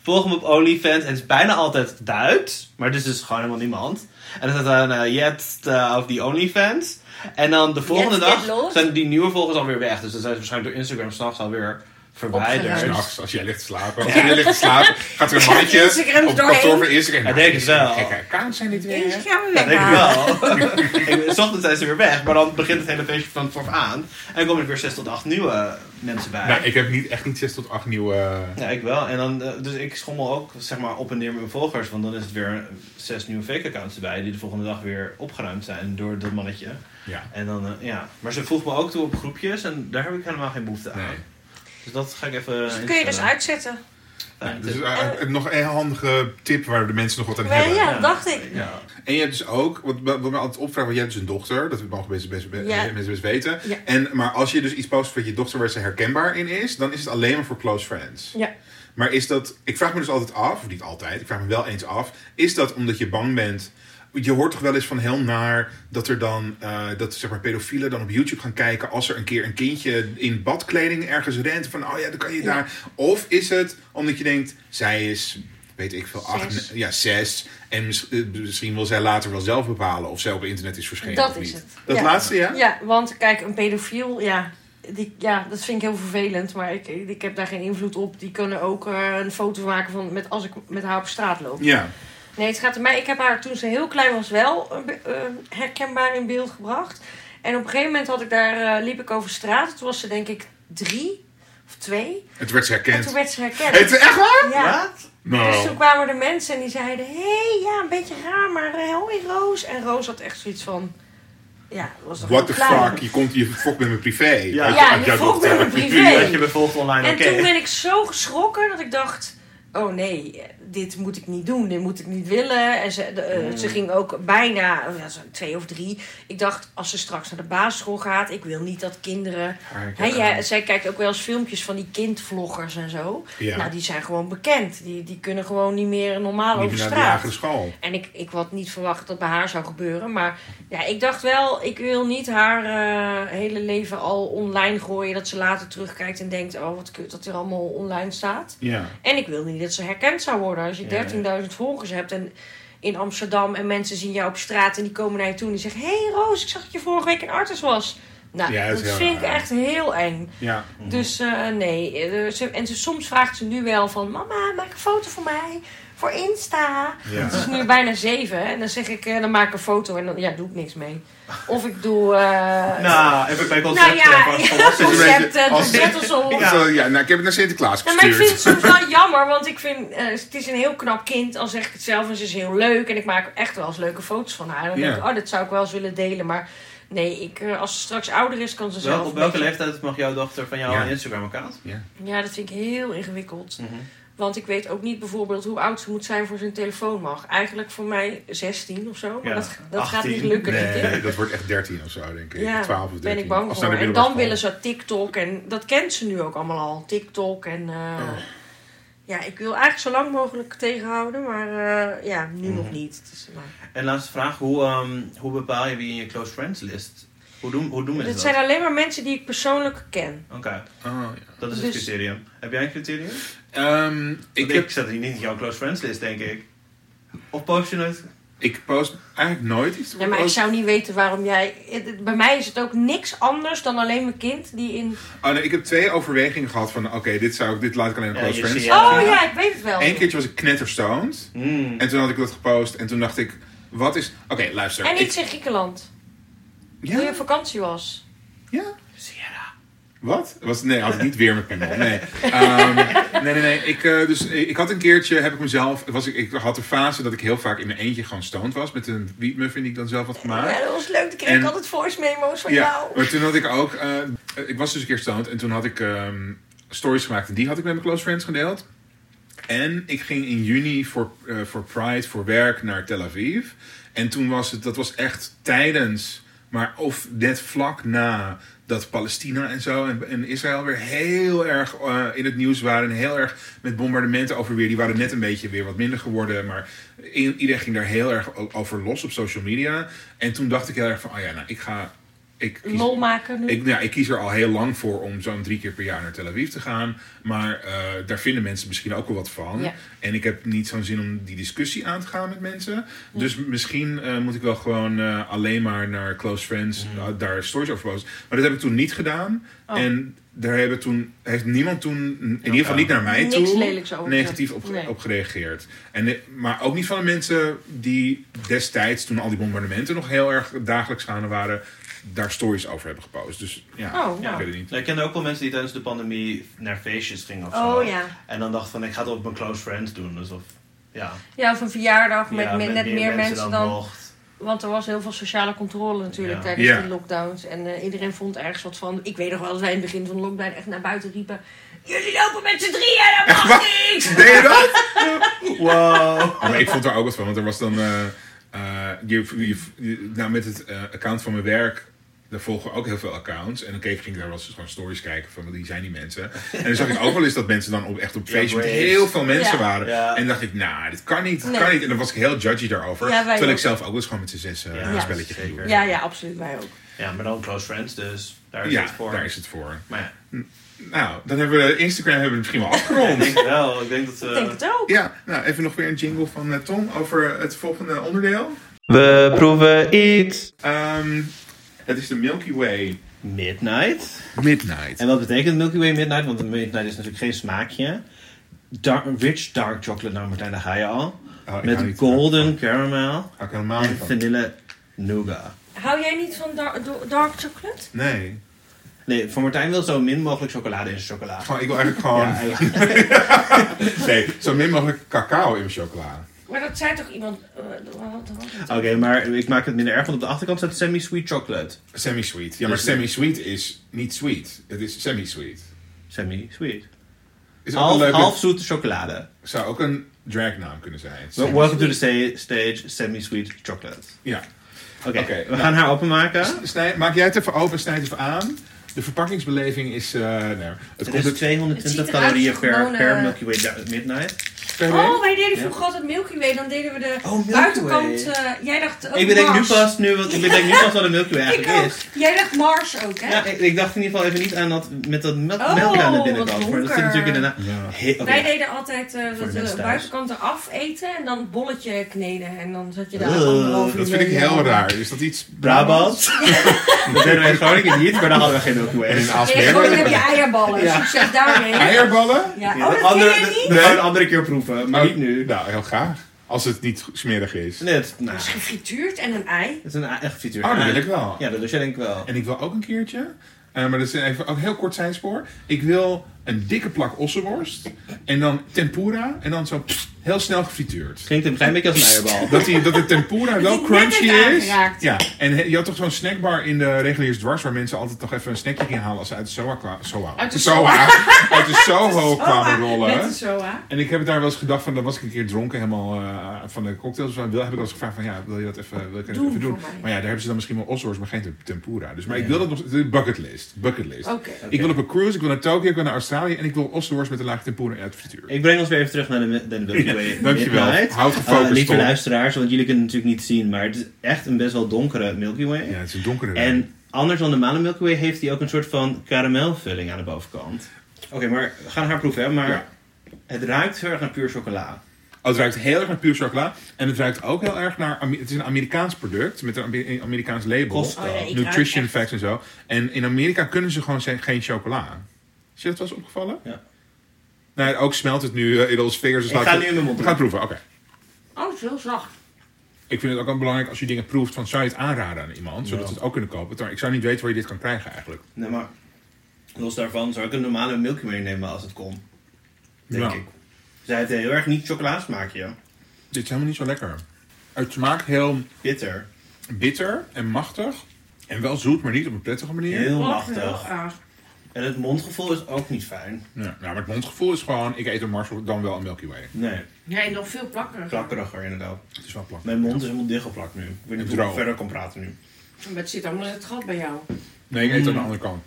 S4: volg me op OnlyFans. En het is bijna altijd Duits. Maar het is dus gewoon helemaal niemand. En dan staat dan... Uh, jetzt eh, op die OnlyFans. En dan de volgende
S2: Jetzt
S4: dag
S2: geht los.
S4: zijn die nieuwe volgers alweer weg. Dus dan zijn ze waarschijnlijk door Instagram s'nachts alweer verwijderd.
S2: Opgeruimd.
S1: S'nachts, als jij ligt te slapen. Als jij ligt te slapen, gaat er een mannetje
S2: Instagram
S1: op
S2: doorheen.
S1: kantoor van Instagram.
S4: Dat
S1: Nou,
S4: denk ik wel.
S1: Gekke accounts zijn dit weer.
S2: Eentje gaan we
S4: Ja, denk ik
S2: weghalen.
S4: wel. ik, s ochtends zijn ze weer weg, maar dan begint het hele feestje van vooraf aan. En komen er weer 6 tot 8 nieuwe mensen bij.
S1: Nou, ik heb niet, echt niet 6 tot 8 nieuwe. eh,
S4: Ja, ik wel. En dan, eh, dus ik schommel ook zeg maar, op en neer met mijn volgers. Want dan is het weer zes nieuwe fake accounts erbij. Die de volgende dag weer opgeruimd zijn door dat mannetje.
S1: Ja.
S4: En dan, eh, ja. Maar ze vroeg me ook toe op groepjes. En daar heb ik helemaal geen behoefte aan.
S2: Oh,
S1: Nee.
S4: Dus dat ga ik even
S2: Dus dat kun je dus
S4: instellen.
S2: uitzetten.
S4: Fijn,
S1: Dus
S4: tip.
S1: eh, eh, nog een handige tip waar de mensen nog wat aan
S2: Maar
S1: hebben.
S2: ja, dat dacht ik.
S4: Ja.
S1: En je hebt dus ook, wat, wat me altijd opvraagt, want jij hebt dus een dochter, dat mogen mensen best, best,
S2: Ja.
S1: mensen best weten.
S2: Ja.
S1: En, maar als je dus iets post wat je dochter waar ze herkenbaar in is, dan is het alleen maar voor close friends.
S2: Ja.
S1: Maar is dat, ik vraag me dus altijd af, of niet altijd, ik vraag me wel eens af, is dat omdat je bang bent? Je hoort toch wel eens van heel naar dat er dan, eh, dat zeg maar pedofielen dan op YouTube gaan kijken als er een keer een kindje in badkleding ergens rent. Van oh ja, dan kan je daar. Of is het omdat je denkt, zij is, weet ik veel, acht,
S2: Zes.
S1: ja, zes. En mis- eh, misschien wil zij later wel zelf bepalen of zij op internet is verschenen
S2: Dat
S1: of
S2: is
S1: niet.
S2: het.
S1: Dat
S2: Ja.
S1: laatste, ja?
S2: Ja, want kijk, een pedofiel, ja, die, ja, dat vind ik heel vervelend. Maar ik, ik heb daar geen invloed op. Die kunnen ook eh, een foto maken van met, als ik met haar op straat loop.
S1: Ja.
S2: Nee, het gaat om mij. Ik heb haar toen ze heel klein was wel eh, be- eh, herkenbaar in beeld gebracht. En op een gegeven moment had ik daar, eh, liep ik over straat. Toen was ze denk ik drie of twee.
S1: Het werd ze
S2: En
S1: herkend.
S2: toen werd ze herkend.
S1: Het is echt waar?
S2: ja.
S4: Wat? Oh.
S2: Dus
S1: Nou.
S2: toen kwamen de mensen en die zeiden: Hé, hey, ja, een beetje raar, maar eh, hoi Roos. En Roos had echt zoiets van: Ja, dat was toch
S1: What the
S2: heel klein.
S1: fuck, je, komt, je fokt met mijn privé.
S4: Ja. eh,
S1: Uit-
S2: Ja,
S1: uit
S2: je
S1: jouw
S2: fokt met
S1: dochter.
S2: mijn privé.
S4: Dat je bijvoorbeeld online
S2: En
S4: oké.
S2: toen ben ik zo geschrokken dat ik dacht: oh nee, dit moet ik niet doen, dit moet ik niet willen. En ze, de, eh, ze
S1: Hmm.
S2: ging ook bijna, oh ja, zo twee of drie. Ik dacht: als ze straks naar de basisschool gaat, ik wil niet dat kinderen. Hè, jij- zij kijkt ook wel eens filmpjes van die kindvloggers en zo.
S1: Ja.
S2: Nou, die zijn gewoon bekend. Die, die kunnen gewoon niet meer normaal
S1: Niet
S2: over
S1: meer naar de
S2: straat.
S1: lagere school.
S2: En ik, ik had niet verwacht dat bij haar zou gebeuren. Maar ja, ik dacht wel, ik wil niet haar eh, hele leven al online gooien. Dat ze later terugkijkt en denkt, oh wat kut dat er allemaal online staat.
S1: Ja.
S2: En ik wil niet dat ze herkend zou worden. Als je
S4: Ja.
S2: 13.000 volgers hebt en in Amsterdam en mensen zien jou op straat en die komen naar je toe en die zeggen... Hé hey Roos, ik zag dat je vorige week in Artes was. Nou,
S1: Ja, dat
S2: dat,
S1: is heel
S2: vind ik
S1: raar.
S2: echt heel eng.
S1: Ja.
S2: Dus eh, nee, eh, ze- en ze, soms vraagt ze nu wel van... Mama, maak een foto voor mij, voor Insta.
S1: Ja.
S2: Het is nu bijna zeven hè, en dan zeg ik, eh, dan maak ik een foto en dan ja, doe ik niks mee. Of ik doe... eh,
S4: Nou, even bij eh,
S2: nou
S4: concepten.
S2: ja,
S4: van-
S2: ja,
S1: een beetje
S2: concepten,
S1: als-
S2: doe
S1: Of,
S2: op.
S1: eh, ja, nou, ik heb het naar Sinterklaas
S2: Ja, maar ik
S1: gestuurd.
S2: vind het soms wel jammer, want ik vind, eh, het is een heel knap kind. Al zeg ik het zelf, en ze is heel leuk. En ik maak echt wel eens leuke foto's van haar. Dan
S1: Ja.
S2: denk ik, oh, dat zou ik wel eens willen delen. Maar nee, ik, eh, als ze straks ouder is, kan ze
S4: Wel,
S2: zelf...
S4: op welke
S2: een beetje-
S4: leeftijd mag jouw dochter van jou
S1: Ja.
S4: een Instagram-account?
S2: Ja, dat vind ik heel ingewikkeld.
S4: Mhm.
S2: Want ik weet ook niet bijvoorbeeld hoe oud ze moet zijn voor zijn telefoon mag. Eigenlijk voor mij 16 of zo. Maar
S4: Ja,
S2: dat, dat gaat
S4: 18.
S2: niet lukken, denk ik.
S1: Nee, dat wordt echt 13 of zo, denk ik.
S2: Ja,
S1: 12 of 13.
S2: ben ik bang
S1: Als
S2: voor.
S1: naar de
S2: En dan
S1: middelbare
S2: willen
S1: school.
S2: ze TikTok. En dat kent ze nu ook allemaal al. TikTok en... eh,
S1: Oh.
S2: Ja, ik wil eigenlijk zo lang mogelijk tegenhouden. Maar eh, ja,
S1: Mhm.
S2: nu nog niet. Het is, eh, maar-
S4: En laatste vraag, hoe, ehm, hoe bepaal je wie in je close friends list Hoe doen, hoe doen mensen
S2: Dit
S4: dat?
S2: zijn alleen maar mensen die ik persoonlijk ken.
S4: Oké,
S1: Oh,
S4: dat is het
S2: Dus-
S4: criterium. Heb jij een criterium? Want
S1: ja. Ehm,
S4: Ik,
S1: ik, heb,
S4: zat hier niet in jouw close friends list, denk ik. Of post je het?
S1: ik post eigenlijk nooit iets.
S2: Ja, maar ik
S1: Post-
S2: zou niet weten waarom jij... het- Bij mij is het ook niks anders dan alleen mijn kind die in...
S1: Oh, nee, ik heb twee overwegingen gehad van oké, dit zou ik, dit laat ik alleen aan
S4: Ja,
S1: close
S4: je
S1: friends.
S4: ziet- Ja.
S2: Oh ja, ik weet het wel.
S1: Eén keertje was ik knetterstoned.
S4: Hmm.
S1: En toen had ik dat gepost en toen dacht ik, wat is... Oké, luister.
S2: En
S1: ik-
S2: iets in Griekenland. Toen je
S1: Ja,
S2: op vakantie was.
S1: ja.
S4: Sierra.
S1: Wat? Was, nee, had ik niet weer met piemel. Nee. Ehm, nee, nee, nee. Ik, eh, dus, eh, ik had een keertje, heb ik mezelf... Was ik, ik had de fase dat ik heel vaak in mijn eentje gewoon stoned was. Met een wietmuffin die ik dan zelf had gemaakt.
S2: Ja, dat was leuk. Dan kreeg
S1: En-
S2: ik altijd voice memo's van
S1: Ja,
S2: jou.
S1: maar toen had ik ook... eh, ik was dus een keer stoned en toen had ik ehm, stories gemaakt. En die had ik met mijn close friends gedeeld. En ik ging in juni voor, eh, voor Pride, voor werk, naar Tel Aviv. En toen was het, dat was echt tijdens, maar of net vlak na dat Palestina en zo en, en Israël weer heel erg eh, in het nieuws waren. En heel erg met bombardementen over weer. Die waren net een beetje weer wat minder geworden. Maar i- iedereen ging daar heel erg o- over los op social media. En toen dacht ik heel erg van, oh ja, nou ik ga... Ik kies-
S2: Lol maken nu.
S1: ik, nou, ik kies er al heel lang voor om zo'n drie keer per jaar naar Tel Aviv te gaan. Maar eh, daar vinden mensen misschien ook wel wat van.
S2: Ja.
S1: En ik heb niet zo'n zin om die discussie aan te gaan met mensen. Dus misschien eh, moet ik wel gewoon eh, alleen maar naar close friends eh, daar stories over posten. Maar dat heb ik toen niet gedaan.
S2: Oh.
S1: En daar hebben toen, heeft niemand toen, in ieder geval niet naar mij
S2: Niks
S1: toe,
S2: lelijks over
S1: negatief op,
S2: gezegd. Nee.
S1: op gereageerd. En, eh, maar ook niet van de mensen die destijds, toen al die bombardementen nog heel erg dagelijks gaande waren, daar stories over hebben gepost. Dus ja,
S2: Oh,
S1: ik
S2: nou.
S1: weet het niet.
S4: Nou, ik kende ook wel mensen die tijdens de pandemie naar feestjes gingen of zo.
S2: Oh ja.
S4: En dan dacht van, ik ga het op mijn close friends doen. Dus of, ja.
S2: Ja, of een verjaardag met,
S4: Ja,
S2: met net meer mensen dan.
S4: mocht.
S2: Want er was heel veel sociale controle natuurlijk
S4: Ja.
S2: tijdens
S1: Ja.
S2: die lockdowns. En eh, iedereen vond ergens wat van. Ik weet nog wel dat wij in het begin van de lockdown echt naar buiten riepen. Jullie lopen met z'n drieën, dat mag niks!
S1: Deed je dat?
S4: Wow.
S1: Ja, maar ik vond daar ook wat van, want er was dan... eh, eh, je, je, je- nou, met het eh, account van mijn werk, daar volgen ook heel veel accounts. En dan keek, ging ik daar wel eens gewoon stories kijken van wie zijn die mensen. En dan zag ik ook wel eens dat mensen dan op, echt op
S4: Ja,
S1: feestje met
S4: braves.
S1: heel veel mensen
S2: Ja.
S1: waren.
S4: Ja.
S1: En dacht ik, nou, dit kan niet, dit
S2: Nee.
S1: kan niet. En dan was ik heel judgy daarover.
S2: Ja, wij
S1: terwijl ik
S2: ook.
S1: zelf ook wel eens gewoon met z'n zes eh,
S4: Ja,
S1: een spelletje
S4: zeker.
S1: ging doen.
S2: Ja, ja, absoluut, wij ook.
S4: Ja, maar dan close friends, dus daar is
S1: Ja,
S4: het voor.
S1: daar is het voor.
S4: Maar ja,
S1: Nou, dan hebben we Instagram hebben we misschien wel
S4: ik
S1: afgerond.
S4: denk het wel. Ik denk dat... eh,
S2: Ik denk het ook.
S1: Eh, Ja, nou even nog weer een jingle van eh, Tom over het volgende onderdeel.
S5: We proeven iets.
S1: Ehm, het is de Milky Way
S4: Midnight.
S1: Midnight.
S4: En wat betekent Milky Way Midnight? Want Midnight is natuurlijk geen smaakje. Dark, rich dark chocolate, nou Martijn, daar ga je al.
S1: Oh, ik hou
S4: Met
S1: niet
S4: golden caramel
S1: Hou ik helemaal
S4: en
S1: niet van.
S4: vanille nougat.
S2: Hou jij niet van dar- do- dark chocolate?
S1: Nee.
S4: Nee, voor Martijn wil zo min mogelijk chocolade in zijn chocolade.
S1: Gewoon, ik wil eigenlijk gewoon...
S4: Ja, eigenlijk.
S1: Nee, zo min mogelijk cacao in mijn chocola.
S2: Maar dat zei toch iemand. eh, wat- wat- wat-
S4: Oké, maar ik maak het minder erg, want op de achterkant staat semi-sweet chocolate.
S1: Semi-sweet. Ja, maar
S4: Dus-
S1: semi-sweet is niet sweet. Het is semi-sweet.
S4: Semi-sweet.
S1: Is ook een
S4: Half,
S1: leuke...
S4: half zoete chocolade.
S1: Zou ook een dragnaam kunnen zijn.
S4: Wel- Welcome to the sta- stage, semi-sweet chocolate.
S1: Ja.
S4: Oké,
S1: Oké,
S4: we
S1: nou.
S4: gaan haar openmaken.
S1: Snij, maak jij het even open, snijd even aan. De verpakkingsbeleving is... eh nee, het,
S4: Het
S1: komt
S4: is
S1: uit
S4: 220
S2: Het ziet eruit eh, als
S4: Dus calorieën
S2: een
S4: per,
S2: gewone-
S4: per Milky Way da- Midnight.
S1: per week.
S2: Oh, wij deden vroeger altijd Milky Way. Dan deden we de
S4: Oh, Milky
S2: buitenkant. eh, jij dacht. ook
S4: ik bedenk nu
S2: Mars.
S4: pas, nu, wat, ik bedenk nu pas wat een Milky Way
S2: Ik
S4: eigenlijk
S2: ook.
S4: is.
S2: Jij dacht Mars ook, hè?
S4: Ja, ik, ik dacht in ieder geval even niet aan dat met dat melk,
S2: Oh,
S4: melk aan de
S2: wat
S4: binnenkant. Maar dat zit
S2: donker.
S4: natuurlijk inderdaad.
S1: Ja.
S4: He- oké,
S2: Wij deden altijd eh, dat
S4: de
S2: we de
S4: mensen thuis.
S2: buitenkant eraf eten en dan een bolletje kneden. En dan zat je daar
S4: Ugh,
S2: anderhalf uur
S1: Dat vind ik
S2: mee.
S1: heel raar. Is dat iets...
S4: Brabant. dat deden wij in Groningen niet, maar daar hadden we geen Milky Way.
S1: En in
S2: Nee, gewoon dan heb je
S1: Aalsmeer.
S2: eierballen.
S4: Ja.
S2: Succes daarmee.
S1: Eierballen?
S2: Ja.
S4: Ja,
S2: Oh, dat
S4: dat
S2: ken
S4: andere,
S2: je
S4: dat-
S2: niet?
S4: dat gaan we een andere keer proeven, maar niet nu.
S1: Nou, heel graag. Als het niet smerig is.
S4: Nee, het, nou,
S2: Dat is gefrituurd en een ei.
S4: het is een a- echt frituur.
S1: Oh, dat wil ik wel.
S4: Ja, dat doe jij denk ik wel.
S1: En ik wil ook een keertje, eh, maar dat is even ook heel kort zijn spoor. Ik wil een dikke plak ossenworst en dan tempura en dan zo pst, heel snel gefrituurd.
S4: Klinkt een klein beetje als een eierbal.
S1: Dat, die, dat de tempura wel
S2: die net
S1: crunchy
S2: heeft
S1: is.
S2: aangeraakt.
S1: Ja, en he- je had toch zo'n snackbar in de reguliers dwars waar mensen altijd nog even een snackje gingen halen als ze uit de soa kwamen. Soa.
S2: Uit de
S1: soa. Uit de soho kwamen Oh, rollen.
S2: Met een soa.
S1: En ik heb daar wel eens gedacht van, dan was ik een keer dronken helemaal eh, van de cocktails. Dan wil, heb ik wel eens gevraagd van, ja, wil je dat even, wil ik dat
S2: Doe
S1: even doen?
S2: voor mij.
S1: Maar ja, daar hebben ze dan misschien wel ossoors, maar geen te- tempura. Dus, maar ik
S4: Ja.
S1: wil dat nog, de bucketlist, bucketlist.
S2: Oké.
S1: Ik wil op een cruise, ik wil naar Tokio, ik wil naar Australië en ik wil ossoors met een laag tempura uit het frituur.
S4: Ik breng ons weer even terug naar de, mi- naar de Milky Way.
S1: Dankjewel,
S4: Midnight.
S1: houd
S4: Eh,
S1: gefocust
S4: lieve
S1: op.
S4: luisteraars, want jullie kunnen het natuurlijk niet zien, maar het is echt een best wel donkere Milky Way.
S1: Ja, het is een donkere
S4: En Anders dan de manen Milky Way heeft hij ook een soort van karamelvulling aan de bovenkant. Oké, maar we gaan haar proeven, hè, maar
S1: Ja.
S4: het ruikt heel erg naar puur chocola.
S1: Oh, het ruikt heel erg naar puur chocola. En het ruikt ook heel erg naar... Ame- Het is een Amerikaans product met een Amer- Amerikaans label.
S4: Kost-
S2: Oh, nee, ik
S1: Nutrition
S2: ruik echt-
S1: facts en zo. En in Amerika kunnen ze gewoon ze- geen chocola. Is je dat wel eens opgevallen?
S4: Ja.
S1: Nee, ook smelt het nu eh, in onze vingers. Dus
S4: Ik
S1: laten
S4: ga
S1: we-
S4: nu in mijn mond
S1: We gaan het proeven, oké.
S2: Oh, het is heel zacht.
S1: Ik vind het ook wel belangrijk als je dingen proeft, van, zou je het aanraden aan iemand? Zodat
S4: Ja.
S1: ze het ook kunnen kopen. Maar ik zou niet weten waar je dit kan krijgen eigenlijk.
S4: Nee, maar los daarvan zou ik een normale Milky Way nemen als het kon. Denk
S1: Ja.
S4: ik. Zij heeft een heel erg niet chocola smaakje.
S1: Dit is helemaal niet zo lekker. Het smaakt heel
S4: Bitter.
S1: bitter en machtig. En wel zoet, maar niet op een prettige manier.
S4: Heel
S2: Oh, heel
S4: machtig.
S2: gaaf.
S4: En het mondgevoel is ook niet fijn.
S1: Ja, nou, maar het mondgevoel is gewoon, ik eet een Mars dan wel een Milky Way.
S4: Nee,
S2: Nee, nog veel plakkeriger.
S4: plakkeriger inderdaad.
S1: Het is wel plat.
S4: Mijn mond is helemaal dichtgeplakt nu. Ik weet niet hoe
S1: Droog.
S4: ik verder kan praten nu.
S2: Maar het zit allemaal in het gat bij jou.
S1: Nee, ik eet
S4: Mm.
S1: aan de andere kant.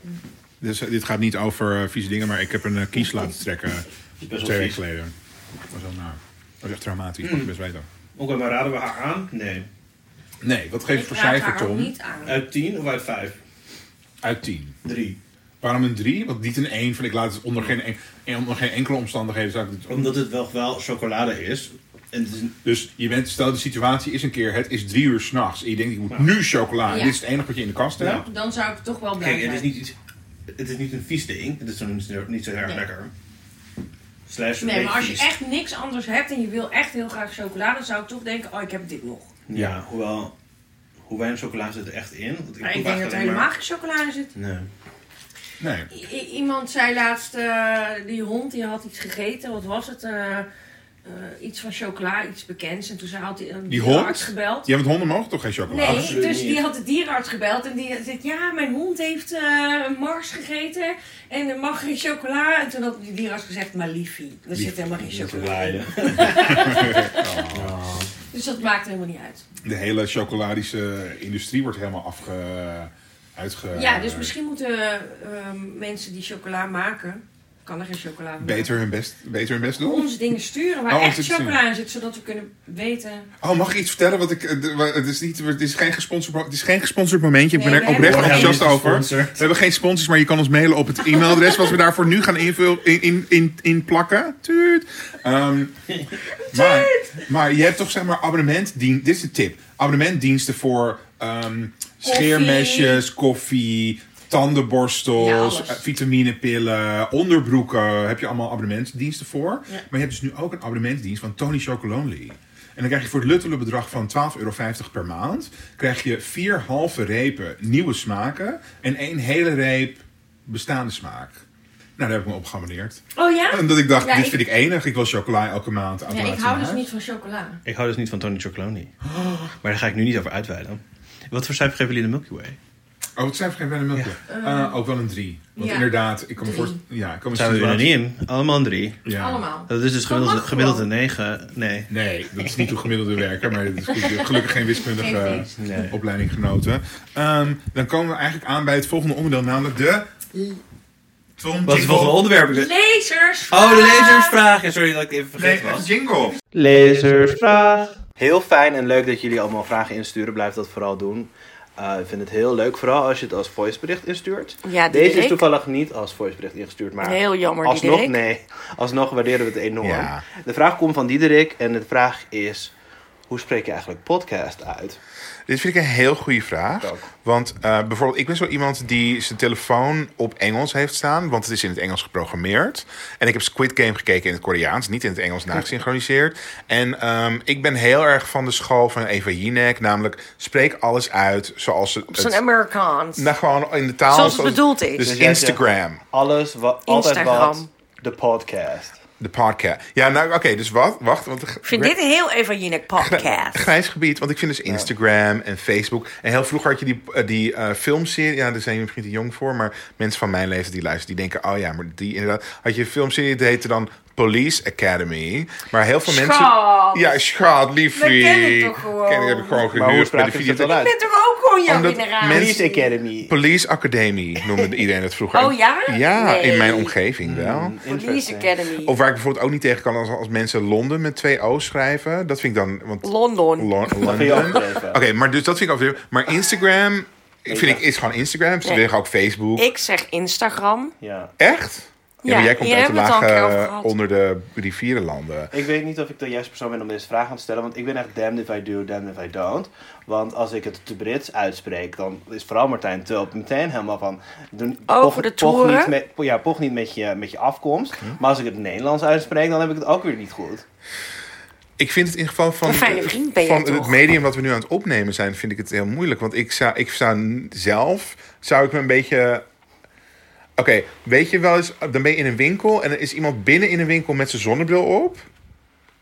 S1: Dus, eh, dit gaat niet over eh, vieze dingen, maar ik heb een eh, kies laten trekken
S4: is best
S1: twee weken
S4: wel vies. Mm. Oké,
S1: geleden. Dat was wel naar. Dat was echt traumatisch, mag je best weten.
S4: maar raden we haar aan? Nee.
S1: Nee, wat geef je
S2: Ik
S1: voor
S2: raak
S1: cijfer,
S2: haar ook
S1: Tom?
S2: niet aan.
S4: Uit 10 of uit 5?
S1: Uit 10.
S4: 3.
S1: Waarom een 3? Want niet een 1, van ik laat het onder geen, en- en- onder geen enkele omstandigheden. Zou ik het,
S4: Omdat het wel, wel chocolade is. En het is een-
S1: dus je bent, stel de situatie is een keer, het is drie uur s'nachts. En je denkt, ik moet nu chocola. En
S2: Ja.
S1: dit is het enige wat je in de kast hebt.
S2: Dan zou ik toch wel blij
S4: Kijk, het is
S2: zijn.
S4: niet iets. Het is niet een vies ding. Het is zo niet zo- niet zo heel erg
S2: Nee.
S4: lekker. Slash een
S2: Nee,
S4: beetje
S2: maar als je
S4: vies.
S2: echt niks anders hebt en je wil echt heel graag chocolade, zou ik toch denken, oh, ik heb dit nog.
S4: Ja, hoewel. Hoe weinig chocola zit er echt in? Want
S2: Maar Nou, ik
S4: proef
S2: denk dat
S4: echt
S2: er
S4: alleen
S2: helemaal
S4: maar-
S2: geen chocolade zit.
S4: Nee.
S1: Nee.
S2: I- i- iemand zei laatst, eh, die hond die had iets gegeten, wat was het? Eh, eh, iets van chocola, iets bekends. En toen ze had hij
S1: Die
S2: een dierenarts
S1: hond?
S2: gebeld.
S1: Ja, want honden mogen toch geen chocola?
S2: Nee,
S4: absoluut
S2: dus
S4: niet.
S2: die had de dierenarts gebeld en die zegt, ja, mijn hond heeft eh, een Mars gegeten en er mag geen chocola. En toen had die dierenarts gezegd, maar liefie, er zit helemaal geen chocola in.
S1: Oh.
S2: Dus dat maakt helemaal niet uit.
S1: De hele chocoladische industrie wordt helemaal afge... Uitge...
S2: Ja, dus misschien moeten eh, mensen die chocola maken, kan er geen chocola van maken,
S1: Beter hun best, beter hun best doen?
S2: ons dingen sturen waar
S1: Oh, ons
S2: echt
S1: dingen
S2: chocola in zit, zodat we kunnen weten.
S1: Oh, mag ik iets vertellen? Wat ik, eh, de- wa- het, is niet, het, is geen gesponsord, mo- het is geen gesponsord momentje. Ik ben
S2: Nee,
S1: er
S2: we
S1: oprecht
S2: hebben-
S1: enthousiast
S4: Helemaal niet
S1: over. We
S4: gesponsord.
S1: hebben geen sponsors, maar je kan ons mailen op het e-mailadres... wat we daarvoor nu gaan invul, in, in, in, in plakken. Tuut. Ehm, maar, maar je hebt toch zeg maar abonnementdien. Dit is de tip. Abonnementdiensten voor ehm scheermesjes, koffie,
S2: Ja,
S1: tandenborstels,
S2: alles.
S1: eh, vitaminepillen, onderbroeken. Heb je allemaal abonnementdiensten voor.
S2: Ja.
S1: Maar je hebt dus nu ook een abonnementdienst van Tony Chocolonely. En dan krijg je voor het luttele bedrag van 12,50 euro per maand... krijg je vier halve repen nieuwe smaken... en één hele reep bestaande smaak. Nou, daar heb ik me op geabonneerd.
S2: Oh ja?
S1: Omdat ik dacht,
S2: Ja,
S1: dit
S2: ik-
S1: vind ik enig. Ik wil chocola elke maand.
S2: Ja,
S1: automaat
S2: ik
S1: in
S2: hou dus
S1: huis.
S2: niet van chocola.
S4: Ik hou dus niet van Tony Chocoloni. Maar daar ga ik nu niet over uitweiden. Wat voor cijfer geven jullie de Milky Way?
S1: Oh, het cijfer geeft wel een milkje. Eh, ook wel een 3. Want
S2: ja.
S1: inderdaad, ik kan me
S2: Drie.
S1: voorstellen... Ja, ik kan me
S4: Zijn we er
S1: situatie-
S4: in? Allemaal een drie.
S1: Ja.
S2: Allemaal.
S4: Dat is dus
S2: Dat
S4: gemiddeld,
S2: mag
S4: gemiddeld een
S2: gewoon.
S4: negen. Nee.
S1: Nee, dat is niet hoe gemiddelde werken, maar dat is goed. Je hebt gelukkig geen wiskundige
S2: Geen niks.
S1: eh,
S4: Nee.
S1: opleiding genoten. Ehm, dan komen we eigenlijk aan bij het volgende onderdeel, namelijk de... Tom
S4: Wat is het volgende onderwerp?
S2: Lasers!
S4: Oh, de lezersvraag! Ja, sorry dat ik even
S1: Nee,
S4: vergeten
S1: even
S4: was.
S1: jingle.
S5: Lezersvraag.
S4: Heel fijn en leuk dat jullie allemaal vragen insturen. Blijf dat vooral doen. Eh, ik vind het heel leuk, vooral als je het als voicebericht instuurt.
S2: Ja,
S4: Deze is toevallig niet als voicebericht ingestuurd, maar
S2: jammer,
S4: alsnog, nee, alsnog waarderen we het enorm.
S1: Ja.
S4: De vraag komt van Diederik en de vraag is, hoe spreek je eigenlijk podcast uit?
S3: Dit vind ik een heel goede vraag.
S4: Ook.
S3: Want eh, bijvoorbeeld, ik ben zo iemand die zijn telefoon op Engels heeft staan. Want het is in het Engels geprogrammeerd. En ik heb Squid Game gekeken in het Koreaans. Niet in het Engels nagesynchroniseerd. En ehm, ik ben heel erg van de school van Eva Jinek. Namelijk, spreek alles uit zoals het...
S2: Op zijn
S3: het-
S2: Amerikaans.
S3: nou, gewoon in de taal.
S2: Zoals het bedoeld is.
S3: Dus
S4: Dus jij zegt-
S3: Instagram,
S4: Alles, wat, altijd wat,
S2: Instagram.
S4: de podcast.
S3: de podcast. Ja, nou oké, dus wat? Wacht, want... de-
S2: Ik vind dit een heel Eva Jinek podcast.
S3: Grijs gebied, want ik vind dus Instagram en Facebook. En heel vroeger had je die, eh, die eh, filmserie. Ja, daar zijn jullie misschien te jong voor. Maar mensen van mijn leeftijd die luisteren, die denken: oh ja, maar die inderdaad. Had je een filmserie, die heette dan Police Academy. Maar heel veel
S2: Schat.
S3: mensen. Ja, schat, liefie.
S2: We kennen het toch gewoon?
S3: Ken, heb ik gewoon
S4: Maar hoe
S3: gehuurd bij
S4: spraak
S3: de
S4: je het dan
S3: video.
S2: Ik ben
S4: uit?
S2: toch ook gewoon jouw
S3: Omdat
S2: minnaar?
S3: mensen-
S4: Police Academy.
S3: Police Academy noemde iedereen het vroeger.
S2: Oh ja?
S3: Ja, in
S2: Nee. Hmm.
S3: mijn omgeving wel.
S2: Police
S4: Interesting.
S2: Academy.
S3: Of waar ik bijvoorbeeld ook niet tegen kan als, als mensen Londen met twee O's schrijven. Dat vind ik dan. Want
S2: London.
S3: Lon-
S4: Dat vind je
S3: London.
S4: overdreven.
S3: Oké, maar dus dat vind ik overdreven. Maar Instagram
S1: Ik vind ik, is gewoon Instagram. Ze
S2: Nee.
S1: liggen ook Facebook.
S2: Ik zeg Instagram.
S3: Ja.
S1: Echt? Ja,
S2: Ja,
S1: maar jij komt
S2: hier
S1: uit de
S2: hebben we het al een keer over
S1: lage
S2: gehad.
S1: onder de rivierenlanden.
S3: Ik weet niet of ik de juiste persoon ben om deze vraag aan te stellen, want ik ben echt damned if I do, damned if I don't. Want als ik het te Brits uitspreek, dan is vooral Martijn Tulp meteen helemaal van... Doen,
S2: Over
S3: poch-
S2: de
S3: poch
S2: toeren? Hm.
S3: niet met- ja, poch niet met je, met je afkomst. Maar als ik het Nederlands uitspreek, dan heb ik het ook weer niet goed.
S1: Ik vind het in geval van,
S2: Een fijne vriend ben je
S1: van het
S2: toch?
S1: medium wat we nu aan het opnemen zijn, vind ik het heel moeilijk. Want ik zou, ik zou n- zelf, zou ik me een beetje... Oké, weet je wel eens, dan ben je in een winkel en er is iemand binnen in een winkel met zijn zonnebril op.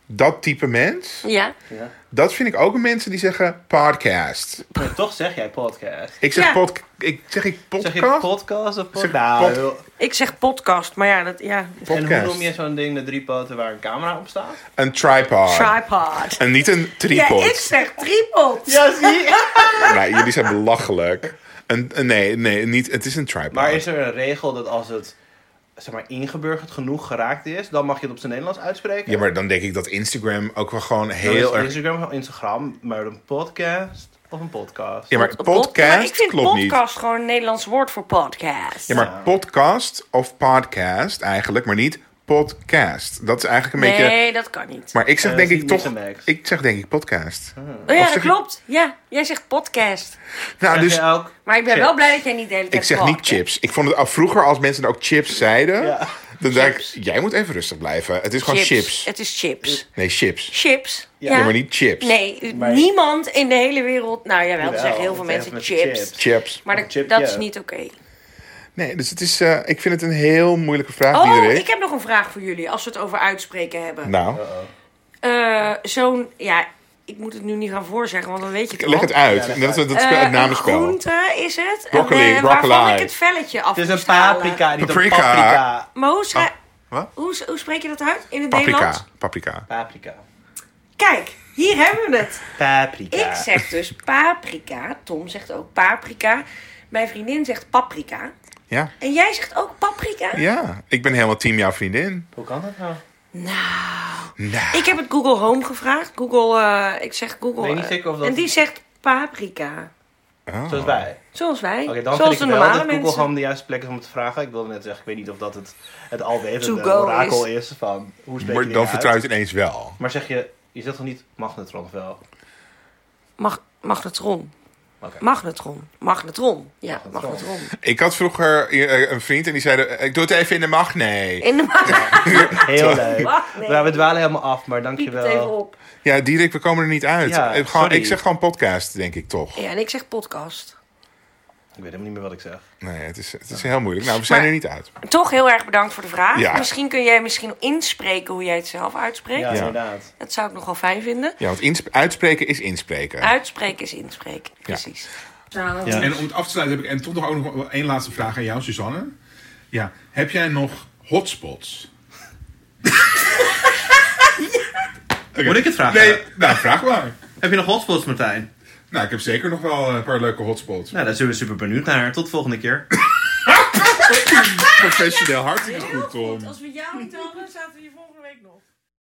S1: Dat type mens.
S2: Ja.
S3: Ja.
S1: Dat vind ik ook mensen die zeggen podcast.
S3: Maar toch zeg jij podcast.
S1: Ik zeg,
S2: Ja.
S1: pod, ik, zeg ik podcast?
S3: Zeg je podcast of
S1: Zeg
S3: podcast? Nou,
S1: pod-
S3: joh.
S2: Ik zeg podcast, maar ja, dat, ja.
S3: en hoe
S1: Podcast.
S3: noem je zo'n ding met drie poten waar een camera op staat?
S1: Een tripod.
S2: Tripod.
S1: en niet een tripod.
S2: Ja, ik zeg tripod.
S3: Ja, zie
S1: Nee, jullie zijn belachelijk. Een, een- nee, nee, niet. Het is een tripod.
S3: Maar is er een regel dat als het zeg maar, ingeburgerd genoeg geraakt is, dan mag je het op zijn Nederlands uitspreken?
S1: Ja, maar dan denk ik dat Instagram ook wel gewoon
S2: Nou,
S3: Dan is
S1: heel erg.
S3: Instagram gewoon Instagram, maar een podcast of een podcast.
S1: Ja, maar
S2: Maar
S1: podcast
S2: ik vind
S1: klopt niet.
S2: podcast gewoon een Nederlands woord voor podcast.
S1: Ja, maar podcast of podcast eigenlijk, maar niet podcast. Dat is eigenlijk een beetje.
S2: Nee, dat kan niet.
S1: Maar ik zeg
S3: Eh,
S1: denk
S3: zie
S1: ik
S3: ik niet
S1: toch.
S3: zo niks.
S1: Ik zeg denk ik podcast. Nou,
S2: Oh
S1: Of
S2: ja,
S1: zeg
S2: dat
S1: je-
S2: klopt. Ja, jij zegt podcast.
S1: Nou,
S3: Zeg
S1: dus
S3: jij ook?
S2: Maar ik ben
S3: Chips.
S2: wel blij dat jij niet de hele tijd
S1: ik zeg niet
S2: podcast-
S1: chips. Ik vond het al vroeger als mensen ook chips zeiden.
S3: Ja.
S1: Dan zei ik, jij moet even rustig blijven. Het is gewoon chips.
S2: Het is chips.
S1: Nee, chips.
S2: Chips. Ja,
S1: Ja, maar niet chips.
S2: Nee,
S3: Maar-
S2: niemand in de hele wereld. Nou jawel, er
S3: Jawel,
S2: zeggen heel veel
S3: het
S2: mensen
S3: met
S2: chips.
S1: Chips.
S2: Maar
S3: Of
S2: dat-
S3: chip,
S2: dat
S3: ja.
S2: is niet oké.
S1: Nee, dus het is, eh, ik vind het een heel moeilijke vraag die
S2: Oh,
S1: er is.
S2: ik heb nog een vraag voor jullie. Als we het over uitspreken hebben.
S1: Nou,
S2: Eh, Zo'n. Ja, ik moet het nu niet gaan voorzeggen, want dan weet je het
S1: leg
S2: al.
S1: het uit.
S3: Ja, dat
S1: dat is het, dat is
S2: Eh,
S1: het
S2: een
S1: namenspel.
S2: groente is het.
S1: Broccoli,
S2: en, eh, waarvan
S1: broccoli.
S2: ik het velletje af
S3: Het is
S2: moest
S3: een
S2: halen.
S3: paprika, niet
S1: Paprika.
S3: een paprika.
S2: Maar hoe, schrij-
S1: Oh, wat?
S2: hoe, hoe spreek je dat uit in het Nederlands?
S1: Paprika. Paprika.
S3: Paprika.
S2: Kijk, hier hebben we het.
S3: Paprika.
S2: Ik zeg dus paprika. Tom zegt ook paprika. Mijn vriendin zegt paprika.
S1: Ja.
S2: En jij zegt ook paprika?
S1: ja, ik ben helemaal team jouw vriendin.
S3: Hoe kan dat nou?
S1: Nou,
S2: Ik heb het Google Home gevraagd. Google, eh, ik zeg Google.
S3: Ben je niet
S2: eh,
S3: zeker of dat-
S2: En die zegt paprika.
S1: oh.
S3: Zoals wij.
S2: Zoals wij.
S3: Oké, dan
S2: Zoals
S3: vind
S2: de
S3: ik wel dat
S2: normale
S3: Google
S2: mensen.
S3: Home de juiste plek is om te vragen. Ik wilde net zeggen, ik weet niet of dat het, het alwetende
S2: To go
S3: orakel is. van hoe spreek
S1: Maar
S3: je
S1: dan
S3: dingen
S1: vertrouw je
S3: uit.
S1: het ineens wel.
S3: Maar zeg je, je zegt toch niet magnetron of wel?
S2: Mag, magnetron.
S3: Oké.
S2: Magnetron. Magnetron. Ja,
S3: Magnetron.
S2: magnetron.
S1: Ik had vroeger eh, een vriend en die zei, eh, ik doe het even in de mag, nee.
S2: In de magnetron.
S3: Heel leuk.
S2: Wacht, nee.
S3: Nou, we dwalen helemaal af, maar
S2: Piep het even
S3: dankjewel.
S2: op.
S1: Ja, Dierik, we komen er niet uit.
S3: Ja,
S1: ik, gewoon,
S3: sorry.
S1: ik zeg gewoon podcast, denk ik toch.
S2: Ja, en ik zeg podcast.
S3: Ik weet helemaal niet meer wat ik zeg.
S1: Nee, het is, het is heel moeilijk. Nou, we zijn
S2: Maar-
S1: er niet uit.
S2: Toch heel erg bedankt voor de vraag.
S1: Ja.
S2: Misschien kun jij misschien inspreken hoe jij het zelf uitspreekt.
S3: Ja, inderdaad.
S2: Dat zou ik nog wel fijn vinden.
S1: Ja, want insp- uitspreken is inspreken.
S2: Uitspreken is inspreken. Precies.
S3: Ja.
S4: En om het af te sluiten heb ik en toch nog ook nog wel één laatste vraag aan jou, Suzanne. Ja, heb jij nog hotspots?
S3: Moet ik het vragen?
S4: Nee, nou vraag maar.
S3: Heb je nog hotspots, Martijn?
S4: Nou, ik heb zeker nog wel een paar leuke hotspots.
S3: Nou, daar zijn we super benieuwd naar. Tot volgende keer.
S4: Professioneel, hartstikke goed, Tom.
S2: we jou niet hadden, zaten we hier volgende week nog.